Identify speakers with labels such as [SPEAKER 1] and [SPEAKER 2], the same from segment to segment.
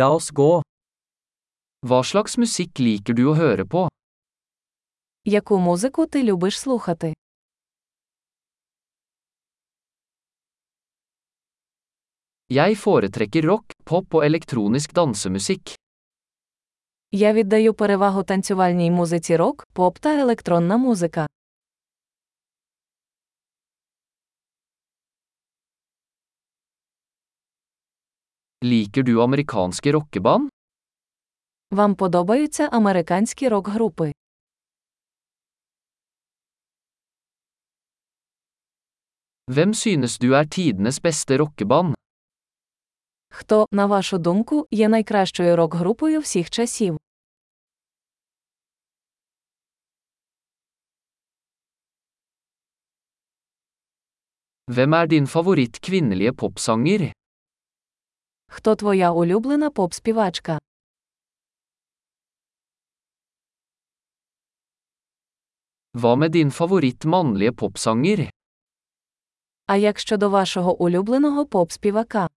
[SPEAKER 1] La oss gå. Hva slags musikk liker du å høre på?
[SPEAKER 2] Яку музику ти любиш слухати?
[SPEAKER 1] Jeg foretrekker rock, pop og elektronisk dansemusikk.
[SPEAKER 2] Я віддаю перевагу танцювальній музиці рок, поп та електронна музика.
[SPEAKER 1] Liker du amerikanske rockeband?
[SPEAKER 2] Вам подобаються американські рок-групи?
[SPEAKER 1] Hvem synes du er tidenes beste rockeband?
[SPEAKER 2] Хто, на вашу думку, є найкращою рок-групою всіх часів?
[SPEAKER 1] Hvem er din favoritt kvinnelige popsanger?
[SPEAKER 2] Хто твоя улюблена поп-співачка?
[SPEAKER 1] Hva med din favoritt mannlige popsanger?
[SPEAKER 2] А як щодо вашого улюбленого поп-співака?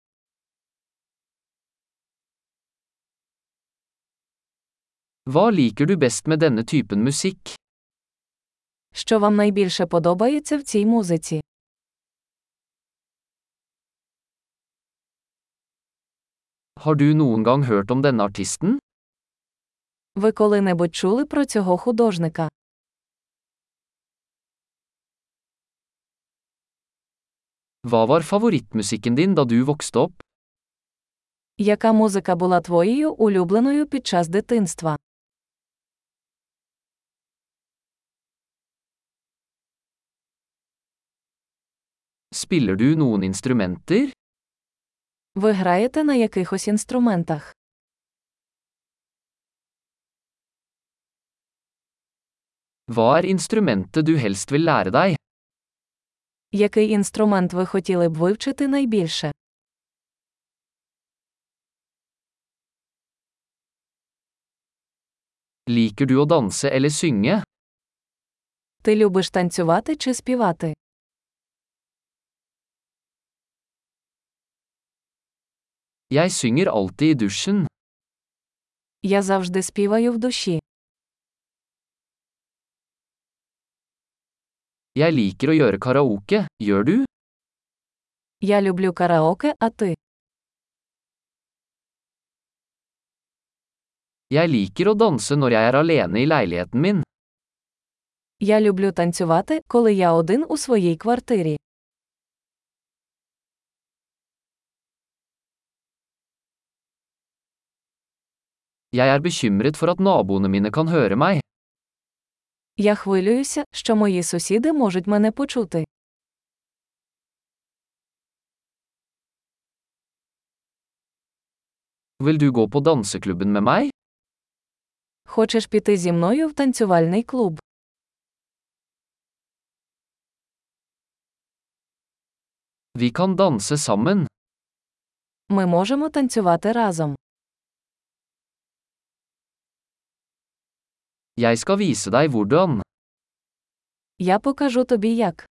[SPEAKER 1] Hva liker du best med denne typen musikk?
[SPEAKER 2] Що вам найбільше подобається в цій музиці?
[SPEAKER 1] Har du noen gang hørt om denne artisten?
[SPEAKER 2] Ви коли-небудь чули про цього художника?
[SPEAKER 1] Hva var favorittmusikken din da du vokste opp?
[SPEAKER 2] Яка музика була твоєю улюбленою під час дитинства?
[SPEAKER 1] Spiller du noen instrumenter?
[SPEAKER 2] Ви граєте на якихось інструментах?
[SPEAKER 1] Hva er instrumentet du helst vil lære deg?
[SPEAKER 2] Який інструмент ви хотіли б вивчити найбільше?
[SPEAKER 1] Liker du å danse eller synge?
[SPEAKER 2] Ти любиш танцювати чи співати?
[SPEAKER 1] Jeg synger alltid i dusjen.
[SPEAKER 2] Я завжди співаю в душі.
[SPEAKER 1] Jeg liker å gjøre karaoke, gjør du?
[SPEAKER 2] Я люблю караоке, а ти?
[SPEAKER 1] Jeg liker å danse når jeg er alene i leiligheten min.
[SPEAKER 2] Я люблю танцювати, коли я один у своїй квартирі.
[SPEAKER 1] Jeg er bekymret for at naboene mine kan høre meg.
[SPEAKER 2] Я хвилююся, що мої сусіди можуть мене почути.
[SPEAKER 1] Vil du gå på danseklubben med meg?
[SPEAKER 2] Хочеш піти зі мною в танцювальний клуб?
[SPEAKER 1] Vi kan danse sammen.
[SPEAKER 2] Ми можемо танцювати разом.
[SPEAKER 1] Jeg skal vise deg hvordan.
[SPEAKER 2] Я покажу тобі як.